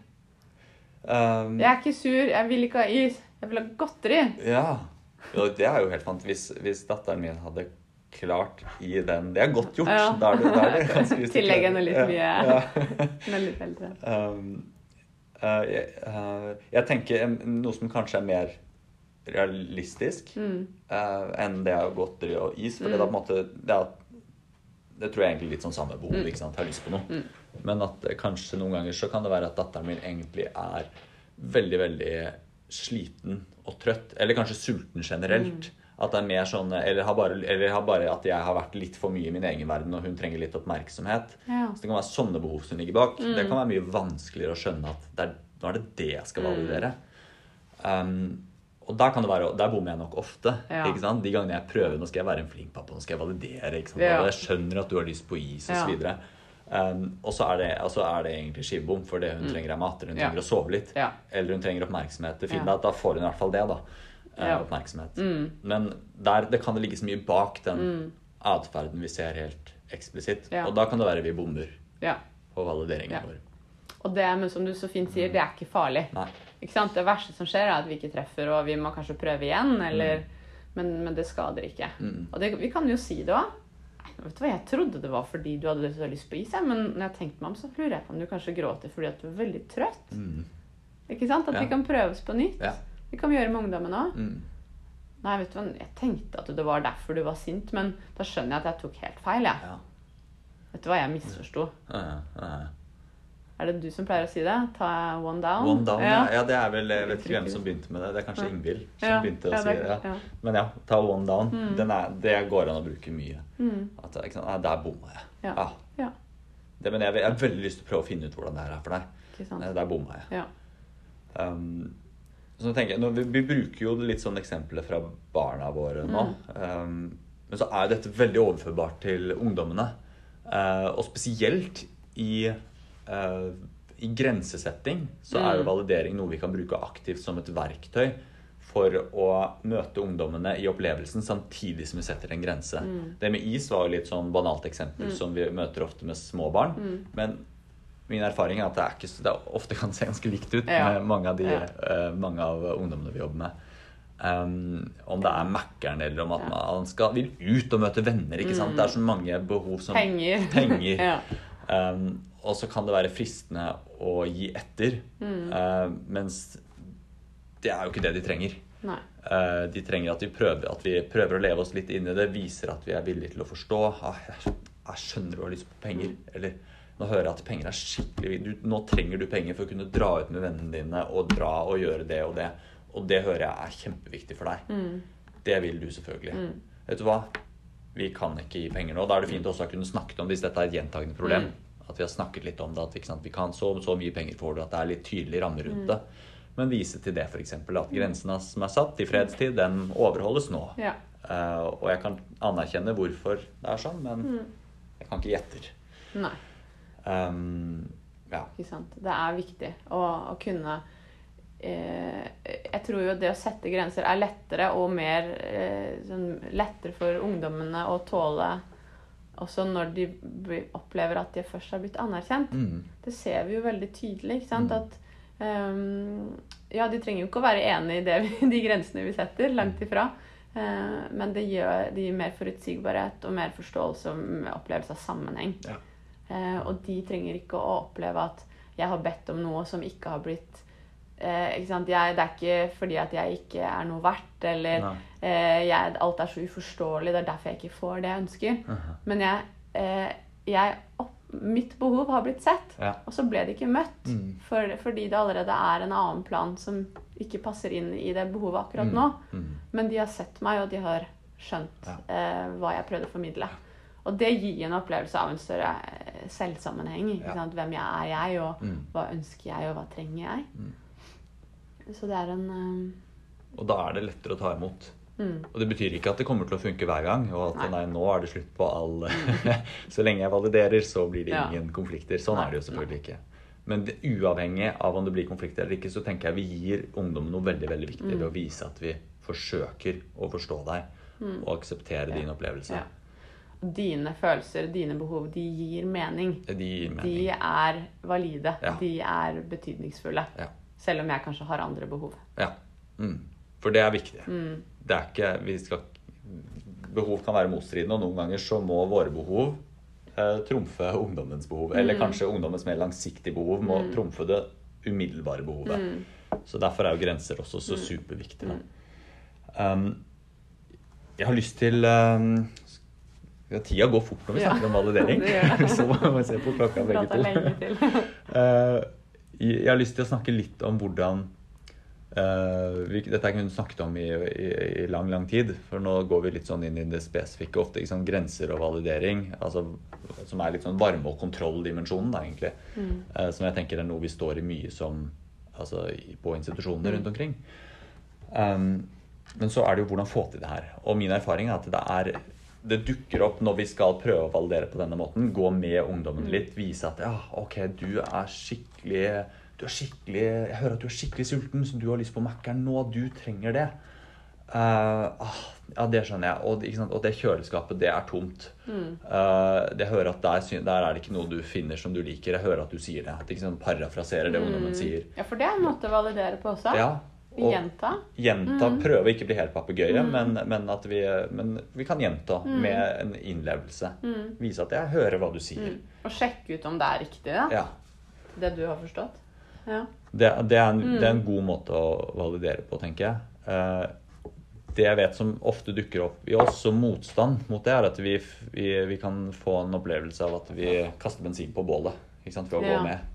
S1: ehm,
S2: Jeg er ikke sur, jeg vil ikke ha is, jeg vil ha godteri.
S1: Ja. Ja, Det er jo helt fant. Hvis, hvis datteren min hadde klart i den Det er godt gjort.
S2: Ja.
S1: Da er det, da er
S2: [LAUGHS]
S1: det ganske hvis du
S2: Tillegg
S1: klarer-
S2: henne litt mye.
S1: [LAUGHS]
S2: Hun er litt eldre.
S1: Um, eh, jeg, eh, jeg tenker en- noe som kanskje er mer realistisk eh, enn det å godteri og is. For det, er på en måte, det, er, det tror jeg egentlig er litt sånn samme behov. ikke sant? Har lyst på noe. Men at eh, kanskje noen ganger så kan det være at datteren min egentlig er veldig, veldig sliten og trøtt. Eller kanskje sulten generelt. At det er mer sånn, eller har, bare, eller har bare at jeg har vært litt for mye i min egen verden, og hun trenger litt oppmerksomhet.
S2: Ja.
S1: Så det kan være sånne behov som ligger bak. Det kan være mye vanskeligere å skjønne at det er, nå er det det jeg skal validere. Um, og der, kan det være, der bommer jeg nok ofte.
S2: Ja.
S1: Ikke sant? De gangene jeg prøver Nå skal jeg være en flink pappa, nå skal jeg validere. Ikke sant?
S2: Ja.
S1: Og Jeg skjønner at du har lyst på is,
S2: Ja.
S1: osv. Um, og så er, det- og så er det egentlig skivebom, for det hun trenger, er mat. Eller hun
S2: Mm. Ja.
S1: trenger å sove litt.
S2: Ja.
S1: Eller hun trenger oppmerksomhet. Det fine
S2: Ja.
S1: er at da får hun i hvert fall det. da eh,
S2: Ja. Mm.
S1: Oppmerksomhet. Men der, det kan det ligge så mye bak den atferden vi ser helt eksplisitt.
S2: Ja.
S1: Og da kan det være vi bommer
S2: Ja.
S1: på valideringen
S2: Ja.
S1: vår.
S2: Og det, men som du så fint sier, det er ikke farlig.
S1: Nei.
S2: Ikke sant? Det verste som skjer, er at vi ikke treffer, og vi må kanskje prøve igjen, eller
S1: Mm.
S2: men, men det skader ikke. Og det, vi kan jo si det òg. Vet du hva, Jeg trodde det var fordi du hadde så lyst på is, jeg, men når jeg tenkte meg om, så lurer jeg på om du kanskje gråter fordi at du er veldig trøtt. Ikke sant? At
S1: Mm. Ja.
S2: vi kan prøves på nytt.
S1: Ja.
S2: Det kan vi gjøre med ungdommen òg.
S1: Mm.
S2: Nei, vet du hva, jeg tenkte at det var derfor du var sint, men da skjønner jeg at jeg tok helt feil, jeg.
S1: Ja.
S2: Vet du hva, jeg misforsto.
S1: Eh, eh.
S2: Er det du som pleier å si det? Ta one down?
S1: One down, ja.
S2: ja.
S1: ja. Det er vel, jeg vet ikke hvem som begynte med det. Det er kanskje
S2: Ja.
S1: Ingvild som
S2: Ja,
S1: begynte å
S2: ja,
S1: si
S2: det- Mm.
S1: det.
S2: ja.
S1: Ja. Men ja, ta one down. Den er, det går an å bruke mye. At, det er ikke sant? Nei, der bomma jeg.
S2: Mm. Ja.
S1: Ja.
S2: ja.
S1: Det, men jeg, jeg har veldig lyst til å prøve å finne ut hvordan det her er for deg.
S2: Ikke sant.
S1: Nei, Der bomma jeg.
S2: Ja.
S1: Um, så tenker jeg, nå, vi, vi bruker jo litt sånne eksempler fra barna våre nå. Um, men så er jo dette veldig overførbart til ungdommene. Eh, og spesielt i, eh, i grensesetting så er jo validering noe vi kan bruke aktivt som et verktøy for å møte ungdommene i opplevelsen samtidig som vi setter en grense. Det med is var jo litt sånn banalt eksempel som vi møter ofte med små barn. Men min erfaring er at det, er ikke, så- det er- ofte kan se ganske likt ut
S2: Ja.
S1: med mange av, de,
S2: Ja.
S1: eh, mange av ungdommene vi jobber med. Um, om det er Mækkern, eller om at
S2: Ja. Mm.
S1: man skal, vil ut og møte venner. ikke sant? Det er så mange behov som
S2: Penger. [LAUGHS]
S1: penger.
S2: Ja.
S1: Um, og så kan det være fristende å gi etter,
S2: Mm.
S1: uh, mens det er jo ikke det de trenger.
S2: Nei.
S1: Eh, De trenger at vi, prøver, at vi prøver å leve oss litt inn i det, viser at vi er villige til å forstå. Ah, jeg, jeg skjønner du har lyst på penger. Eller nå hører jeg at penger er skikkelig vi- du, Nå trenger du penger for å kunne dra ut med vennene dine og dra og gjøre det og det. Og det hører jeg er kjempeviktig for deg. Det vil du selvfølgelig. Vet du hva? Vi kan ikke gi penger nå. Da er det fint også å kunne snakket om det hvis dette er et gjentagende problem. at vi har snakket litt om det. At ikke sant, vi kan så, så mye penger får du, at det er litt tydelige rammer rundt det.
S2: Mm.
S1: Men vise til det, f.eks. At grensene som er satt i fredstid, den overholdes nå.
S2: Ja.
S1: Eh, og jeg kan anerkjenne hvorfor det er sånn, men
S2: Mm.
S1: jeg kan ikke gjette.
S2: Nei,
S1: Um, ja.
S2: ikke sant. Det er viktig å, å kunne eh, Jeg tror jo det å sette grenser er lettere og mer eh, sånn, lettere for ungdommene å tåle også når de blir- opplever at de først har blitt anerkjent.
S1: Mm.
S2: Det ser vi jo veldig tydelig. ikke sant?
S1: Mm.
S2: At ehm, Ja, de trenger jo ikke å være enig i det vi, [LAUGHS] de grensene vi setter, langt ifra. Eh, men det gjør, det gir mer forutsigbarhet og mer forståelse og m- opplevelse av sammenheng.
S1: Ja.
S2: Eh, og de trenger ikke å oppleve at jeg har bedt om noe som ikke har blitt eh, ikke sant? Jeg, Det er ikke fordi at jeg ikke er noe verdt, eller
S1: Nei.
S2: eh, jeg, alt er så uforståelig, det er derfor jeg ikke får det jeg ønsker.
S1: Aha.
S2: Men jeg, eh, jeg opp, mitt behov har blitt sett.
S1: Ja.
S2: Og så ble det ikke møtt,
S1: Mm.
S2: for, fordi det allerede er en annen plan som ikke passer inn i det behovet akkurat nå.
S1: Mm.
S2: Men de har sett meg, og de har skjønt
S1: Ja.
S2: eh, hva jeg prøvde å formidle. Og det gir en opplevelse av en større eh, selvsammenheng. Ikke
S1: Ja.
S2: sant? Hvem jeg er jeg, og
S1: Mm.
S2: hva ønsker jeg, og hva trenger jeg? Så det er en eh,
S1: Og da er det lettere å ta imot.
S2: Mm.
S1: Og det betyr ikke at det kommer til å funke hver gang. Og at
S2: Nei.
S1: nei, nå er det slutt på all [LAUGHS] Så lenge jeg validerer, så blir det
S2: Ja.
S1: ingen konflikter. Sånn er det jo selvfølgelig ikke. Men det, uavhengig av om det blir konflikter eller ikke, så tenker jeg vi gir ungdommen noe veldig veldig viktig
S2: Mm.
S1: ved å vise at vi forsøker å forstå deg og akseptere din opplevelse.
S2: Mm. ja. eh, Dine følelser, dine behov, de gir mening.
S1: De gir
S2: De
S1: mening.
S2: er valide.
S1: Ja.
S2: De er betydningsfulle.
S1: Ja.
S2: Selv om jeg kanskje har andre behov.
S1: Ja. Mm. For det er viktig.
S2: Mm.
S1: Det er ikke Vi skal Behov kan være motstridende, og noen ganger så må våre behov eh, trumfe ungdommens behov. Eller
S2: Mm.
S1: kanskje ungdommens mer langsiktige behov må trumfe det umiddelbare behovet.
S2: Mm.
S1: Så derfor er jo grenser også så superviktige. da. Um, jeg har lyst til um, ja, Tida går fort når vi
S2: Ja,
S1: snakker om validering.
S2: [LAUGHS] det gjør det.
S1: [LAUGHS] så må vi se på klokka begge
S2: Prata
S1: to.
S2: lenge
S1: [LAUGHS]
S2: til.
S1: Eh, jeg har lyst til å snakke litt om hvordan eh, vi, Dette har jeg kunnet snakket om i, i, i lang, lang tid, for nå går vi litt sånn inn i det spesifikke. Ofte ikke sant, grenser og validering, altså, som er litt sånn varme- og kontrolldimensjonen, da, egentlig. Eh, som jeg tenker er noe vi står i mye som altså, i- på institusjonene rundt omkring. Um, men så er det jo hvordan få til det her. Og min erfaring er at det er det dukker opp når vi skal prøve å validere på denne måten. Gå med ungdommen litt. Vise at ja, OK, du er skikkelig du er skikkelig, Jeg hører at du er skikkelig sulten, så du har lyst på Mækkern nå. Du trenger det. Eh, ah, ja, det skjønner jeg. Og, ikke sant? og det kjøleskapet, det er tomt. Eh, jeg hører at der, syn- der er det ikke noe du finner som du liker. Jeg hører at du sier det. At ikke sant, parafraserer det ungdommen sier.
S2: Ja, for det er en måte å validere på også.
S1: Ja, og-
S2: Gjenta.
S1: gjenta,
S2: Mm.
S1: prøve å ikke bli helt papegøye, men, men at vi, men vi kan gjenta
S2: Mm.
S1: med en innlevelse. Vise at jeg hører hva du sier.
S2: Og sjekke ut om det er riktig, da.
S1: Ja.
S2: Det du har forstått. Ja.
S1: Det, det, er
S2: Mm.
S1: en, det er en god måte å validere på, tenker jeg. Eh, det jeg vet som ofte dukker opp i oss som motstand mot det, er at vi, f- vi, vi kan få en opplevelse av at vi kaster bensin på bålet ikke sant, ved å
S2: Ja.
S1: gå med.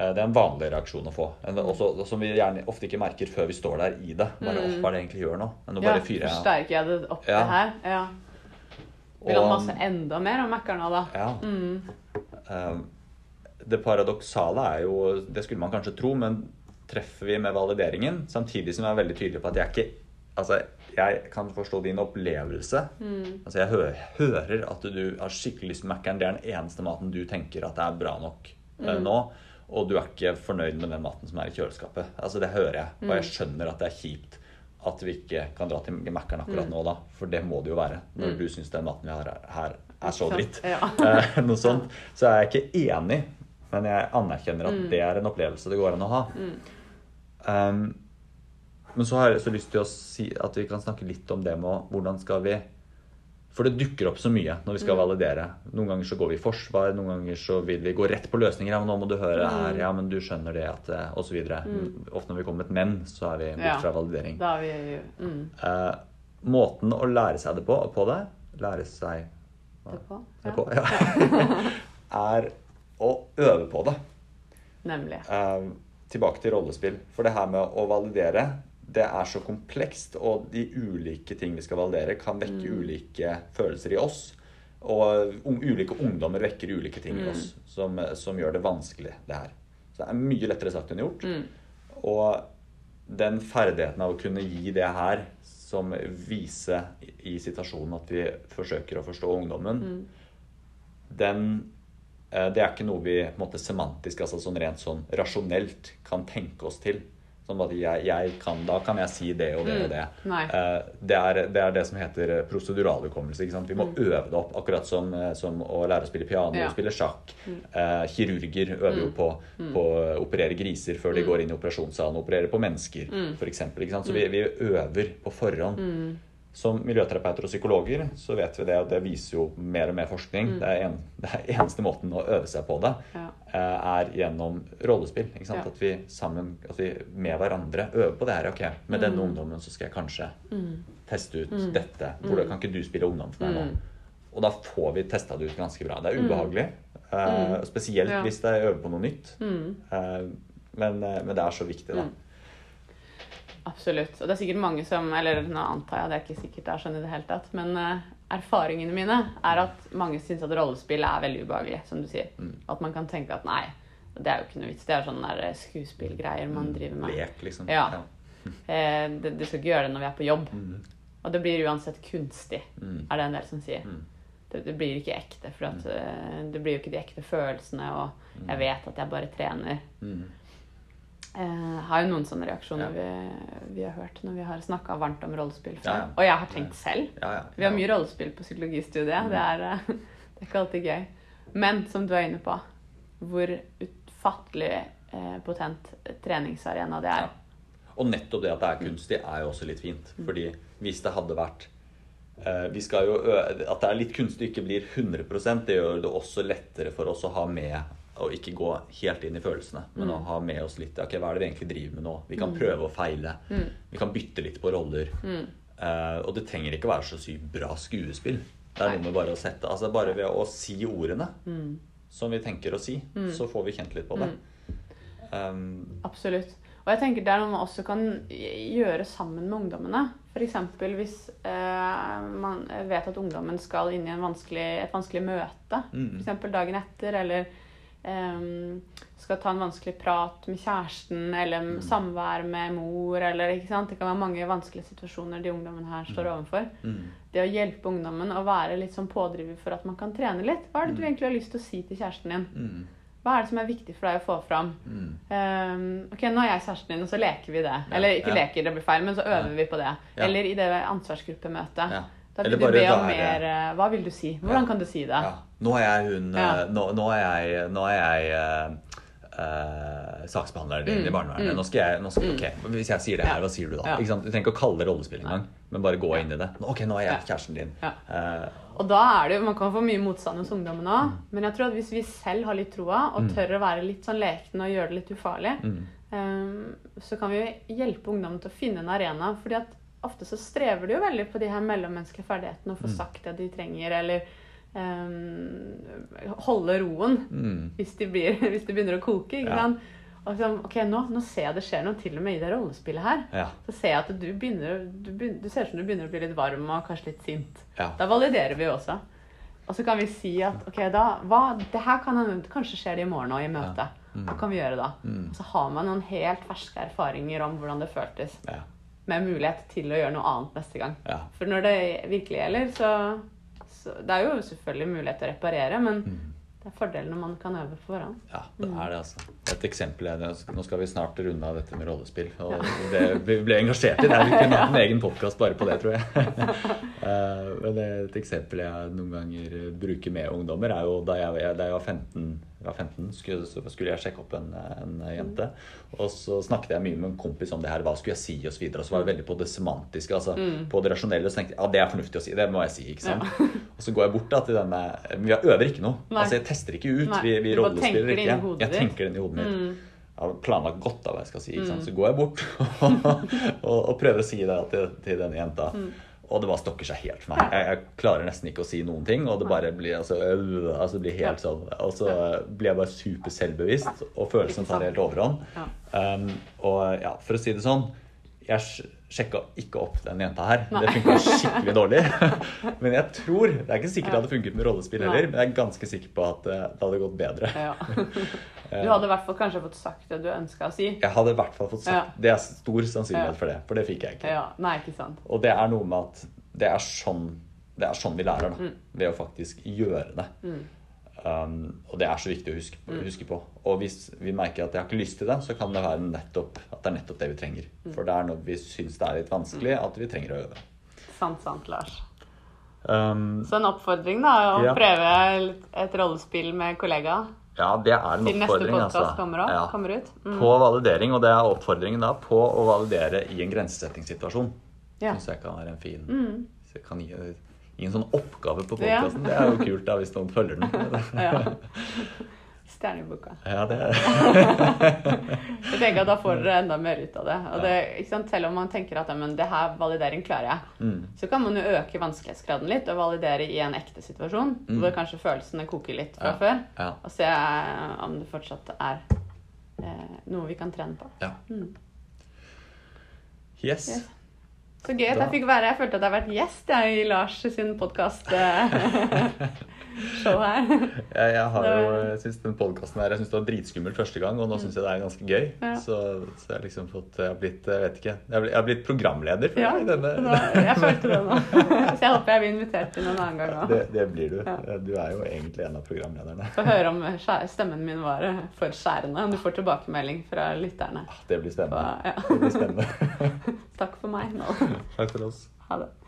S1: Eh, Det er en vanlig reaksjon å få, en, også, som vi gjerne ofte ikke merker før vi står der i det. Bare, «Åh, Hva er det jeg egentlig gjør nå? Men nå
S2: Mm. ja.
S1: bare fyrer jeg.
S2: Forsterker jeg det opp
S1: Ja.
S2: det her? Ja. Vil han
S1: Og-
S2: masse enda mer om Mækkern nå, da?
S1: Ja. Mm. Eh, Det paradoksale er jo Det skulle man kanskje tro, men treffer vi med valideringen, samtidig som jeg er veldig tydelig på at jeg ikke Altså, jeg kan forstå din opplevelse.
S2: Mm.
S1: Altså, jeg hø hører at du har skikkelig lyst på Mækkern. Det er den eneste maten du tenker at er bra nok eh,
S2: Mm.
S1: nå. Og du er ikke fornøyd med den maten som er i kjøleskapet. Altså, det hører jeg. Og jeg
S2: Mm.
S1: skjønner at det er kjipt at vi ikke kan dra til Mækkern akkurat
S2: Mm.
S1: nå, da. For det må det jo være. Når du syns den maten vi har her- her, er så
S2: Ikke sant?
S1: dritt.
S2: Ja. Mm.
S1: Eh, [LAUGHS] noe sånt, så er jeg ikke enig, men jeg anerkjenner at det er en opplevelse det går an å ha. Um, men så har jeg så lyst til å si at vi kan snakke litt om det med hvordan skal vi For det dukker opp så mye når vi skal
S2: Mm.
S1: validere. Noen ganger så går vi i forsvar, noen ganger så vil vi gå rett på løsninger. Ja, men nå må du høre
S2: Mm.
S1: her, ja, men du skjønner det at eh, Og så videre. Ofte når vi kommer med et men, så er vi bort
S2: Ja.
S1: fra validering.
S2: Da er vi mm,
S1: Eh, måten å lære seg det på, på det Lære seg hva?
S2: det på.
S1: er
S2: Ja.
S1: på, ja. [LAUGHS] er å øve på det.
S2: Nemlig.
S1: Eh, tilbake til rollespill. For det her med å validere, det er så
S2: Mm.
S1: komplekst, og de ulike ting vi skal validere, kan vekke ulike følelser i oss. Og un- ulike ungdommer vekker ulike ting i
S2: Mm.
S1: oss som, som gjør det vanskelig, det her. Så det er mye lettere sagt enn gjort.
S2: Mm.
S1: Og den ferdigheten av å kunne gi det her, som viser i situasjonen at vi forsøker å forstå ungdommen, den eh, Det er ikke noe vi på en måte semantisk, altså sånn rent sånn rasjonelt, kan tenke oss til. Sånn at jeg, jeg kan, Da kan jeg si det og det og det.
S2: Nei.
S1: Eh, Det er, det er det som heter eh, proseduralhukommelse. ikke sant? Vi må øve det opp, akkurat som, eh, som å lære å spille piano
S2: Mm. Ja. Mm.
S1: og spille sjakk. Eh, kirurger øver jo på, på å operere griser før
S2: Mm.
S1: de går inn i operasjonssalen og opererer på mennesker, for eksempel, ikke sant? Så vi, vi øver på forhånd.
S2: Mm.
S1: Som miljøterapeuter og psykologer så vet vi det, og det viser jo mer og mer forskning. Det, er en, det er eneste måten å øve seg på det,
S2: Mm. Ja.
S1: eh, er gjennom rollespill. ikke sant?
S2: Ja.
S1: At vi sammen, at vi med hverandre øver på det her. Ok, med
S2: Mm.
S1: denne ungdommen så skal jeg kanskje teste ut dette. Hvordan
S2: Mm.
S1: kan ikke du spille ungdom for meg nå? Og da får vi testa det ut ganske bra. Det er ubehagelig. eh, spesielt
S2: Mm. Ja. Mm.
S1: hvis det er øver på noe nytt. Eh, men, eh, men det er så viktig, da.
S2: Absolutt. Og det er sikkert mange som Eller nå antar jeg, det er ikke sikkert det er sånn i det hele tatt. Men eh, erfaringene mine er at mange syns at rollespill er veldig ubehagelig, som du sier. At man kan tenke at nei, det er jo ikke noe vits. Det er sånne der eh, skuespillgreier man driver med.
S1: Lek, liksom.
S2: Ja. Eh, det- Du skal ikke gjøre det når vi er på jobb. Og det blir uansett kunstig,
S1: Mm.
S2: er det en del som sier.
S1: Mm.
S2: Det, det blir ikke ekte, for at, eh, det blir jo ikke de ekte følelsene, og jeg vet at jeg bare trener.
S1: Mm.
S2: Eh, har jo noen sånne reaksjoner
S1: Ja.
S2: vi, vi har hørt når vi har snakka varmt om rollespill. før.
S1: Ja, ja.
S2: Og jeg har tenkt selv.
S1: Ja, ja. Mm.
S2: Vi har mye rollespill på psykologistudiet. Det, er, eh, [LAUGHS] det er ikke alltid gøy. Men som du er inne på, hvor utfattelig eh, potent treningsarena det er.
S1: Ja. Og nettopp det at det er kunstig, er jo også litt fint. Fordi hvis det hadde vært eh, vi skal jo, ø- At det er litt kunstig, ikke blir 100 det gjør det også lettere for oss å ha med og ikke gå helt inn i følelsene, men å ha med oss litt ok, Hva er det vi egentlig driver med nå? Vi kan prøve og feile.
S2: Mm.
S1: Vi kan bytte litt på roller. Eh, og det trenger ikke være så sykt bra skuespill. Det er noe med bare å sette altså Bare ved å si ordene som vi tenker å si, så får vi kjent litt på det.
S2: Mm.
S1: Um,
S2: Absolutt. Og jeg tenker det er noe man også kan gjøre sammen med ungdommene. F.eks. hvis eh, man vet at ungdommen skal inn i en vanskelig, et vanskelig møte,
S1: Mhm.
S2: f.eks. dagen etter, eller eh, skal ta en vanskelig prat med kjæresten, eller
S1: Mm.
S2: med samvær med mor, eller ikke sant. Det kan være mange vanskelige situasjoner de ungdommene her står overfor.
S1: mm.
S2: Det å hjelpe ungdommen å være litt sånn pådriver for at man kan trene litt. Hva er det du egentlig har lyst til å si til kjæresten din?
S1: Mm.
S2: Hva er det som er viktig for deg å få fram?
S1: Mm.
S2: Ehm, ok, nå er jeg kjæresten din, og så leker vi det. Eller ikke
S1: ja.
S2: leker, det blir feil, men så øver
S1: Ja.
S2: vi på det.
S1: Ja.
S2: Eller i det ansvarsgruppemøtet.
S1: Ja.
S2: Da vil
S1: Eller
S2: du
S1: bare
S2: be om
S1: være-
S2: mer eh, Hva vil du si? Hvordan
S1: Ja.
S2: kan du si det?
S1: Ja. Nå er jeg hun eh,
S2: Ja.
S1: nå, nå er jeg, nå er jeg eh, eh, saksbehandleren din i barnevernet. Nå skal jeg, nå skal, ok, Hvis jeg sier det her, hva sier du da?
S2: Mm. Ja.
S1: Ikke sant? Du trenger ikke å kalle det rollespill engang, men bare gå inn i det. Nå- Ok, nå er jeg
S2: Ja.
S1: kjæresten din.
S2: Ja.
S1: Eh,
S2: Og da er det jo Man kan få mye motstand hos ungdommen òg, men jeg tror at hvis vi selv har litt troa, og tør å være litt sånn lekne og gjøre det litt ufarlig,
S1: mm.
S2: ehm, så kan vi jo hjelpe ungdommen til å finne en arena. fordi at ofte så strever de jo veldig på de her mellommenneskelige ferdighetene, å få sagt det de trenger, eller ehm, holde roen.
S1: mm,
S2: hvis de, blir, [LAUGHS] hvis de begynner å koke. ikke
S1: Ja.
S2: sant? Og så, ok, nå, nå ser jeg det skjer noe til og med i det rollespillet her.
S1: ja.
S2: Så ser jeg at du begynner, du, begyn- du ser ut som du begynner å bli litt varm og kanskje litt sint.
S1: Ja.
S2: Da validerer vi jo også. Og så kan vi si at ok, da, hva, det her kan hende- kanskje skjer det i morgen og i møtet. Hva kan vi gjøre da?
S1: Mm.
S2: Og så har man noen helt ferske erfaringer om hvordan det føltes.
S1: Ja.
S2: Med mulighet til å gjøre noe annet neste gang.
S1: Ja.
S2: For når det virkelig gjelder, så, så Det er jo selvfølgelig mulighet til å reparere, men
S1: Mm.
S2: det er fordelen når man kan øve på forhånd.
S1: Ja, det er det, altså. Et eksempel er det, Altså, Nå skal vi snart runde av dette med rollespill. Og det, vi ble engasjert i det. Vi kunne hatt en egen podkast bare på det, tror jeg. Eh, Men et eksempel jeg noen ganger bruker med ungdommer, er jo da jeg, jeg- da jeg var 15, jeg var 15 skulle, så skulle jeg sjekke opp en, en jente. Og så snakket jeg mye med en kompis om det her. Hva skulle jeg si? Og så videre. Og så var jeg veldig på det semantiske. altså På det rasjonelle. Så tenkte jeg ja, det er fornuftig å si. Det må jeg si. ikke sant? Og så går jeg bort da til denne Vi øver ikke noe.
S2: Nei.
S1: altså Jeg tester ikke ut.
S2: Nei,
S1: vi, vi
S2: du bare
S1: rollespiller
S2: tenker det
S1: ikke.
S2: inn i hodet
S1: Jeg
S2: ditt. Mm.
S1: tenker den i hodet mitt. Jeg har planlagt godt av hva jeg skal si. Ikke sant? Så går jeg bort og, [LAUGHS] og, og prøver å si det til, til denne jenta.
S2: Mm.
S1: Og det bare stokker seg helt for meg. Jeg, jeg klarer nesten ikke å si noen ting. Og det bare blir, altså, øh, altså, det blir helt sånn Og så blir jeg bare super selvbevisst, og følelsen tar helt overhånd.
S2: Ja.
S1: Um, og ja, for å si det sånn jeg, s- sjekka ikke opp den jenta her. Det
S2: [LAUGHS]
S1: funka skikkelig dårlig. [LAUGHS] Men jeg tror Det er ikke sikkert det hadde funket med rollespill heller, men jeg er ganske sikker på at eh, det hadde gått bedre.
S2: Ja. [LAUGHS] Du hadde i hvert fall kanskje fått sagt det du ønska å si.
S1: Jeg hadde i hvert fall fått sagt
S2: Ja.
S1: Det er stor
S2: Ja.
S1: sannsynlighet for det, for det fikk jeg ikke.
S2: Ja. Nei, ikke sant.
S1: Og det er noe med at det er sånn, det er sånn vi lærer,
S2: Mm.
S1: da. Ved å faktisk gjøre det. Um, og det er så viktig å huske,
S2: Mm.
S1: huske på. Og hvis vi merker at jeg har ikke lyst til det, så kan det være nettopp, at det er nettopp det vi trenger.
S2: Mm.
S1: For det er når vi syns det er litt vanskelig, at vi trenger å øve.
S2: Sant, sant, Lars.
S1: Um,
S2: Så en oppfordring, da. Å
S1: Ja.
S2: prøve litt- et rollespill med kollega
S1: ja, det er en
S2: til neste
S1: oppfordring,
S2: podkast
S1: altså.
S2: kommer, opp-
S1: Ja.
S2: kommer ut. Mm.
S1: På validering, og det er oppfordringen da på å validere i en grensesettingssituasjon.
S2: Ja. Mm.
S1: Syns jeg kan være en fin så jeg kan gi, gi en sånn oppgave på
S2: Ja.
S1: podkasten. Det er jo kult da hvis noen følger den.
S2: [LAUGHS] Ja. Stjerneboka.
S1: Ja, det
S2: Jeg tenker at Da får dere enda mer ut av det. Og det ikke sant? Selv om man tenker at ja, men det her validering klarer jeg,
S1: Mm.
S2: så kan man jo øke vanskelighetsgraden litt og validere i en ekte situasjon hvor kanskje følelsene koker litt fra
S1: Mm. Ja.
S2: før,
S1: Ja.
S2: og se eh, om det fortsatt er eh, noe vi kan trene på.
S1: ja. Yes.
S2: Mm. Yes. Så gøy at
S1: Da-
S2: jeg fikk være Jeg følte at jeg har vært gjest jeg, i Lars sin [LAUGHS] podkast-show
S1: [LAUGHS]
S2: her.
S1: Jeg, jeg har
S2: Det
S1: jo
S2: var-
S1: jeg synes den podcasten her Jeg synes det var dritskummelt første gang, og nå syns jeg det er ganske gøy.
S2: Ja.
S1: Så, så jeg har liksom fått Jeg har blitt jeg vet ikke, jeg har blitt, jeg har blitt programleder. føler
S2: Ja,
S1: jeg, i denne,
S2: nå, jeg følte det nå. [LAUGHS] Så jeg håper jeg blir invitert til en annen gang òg.
S1: det, det blir du. Du er jo egentlig en av programlederne.
S2: Få høre om skjæ- stemmen min var eh, for skjærende. Om du får tilbakemelding fra lytterne.
S1: Ah, Det blir spennende.
S2: Ja.
S1: Det blir spennende.
S2: Takk for meg nå.
S1: Takk for oss.
S2: Ha det.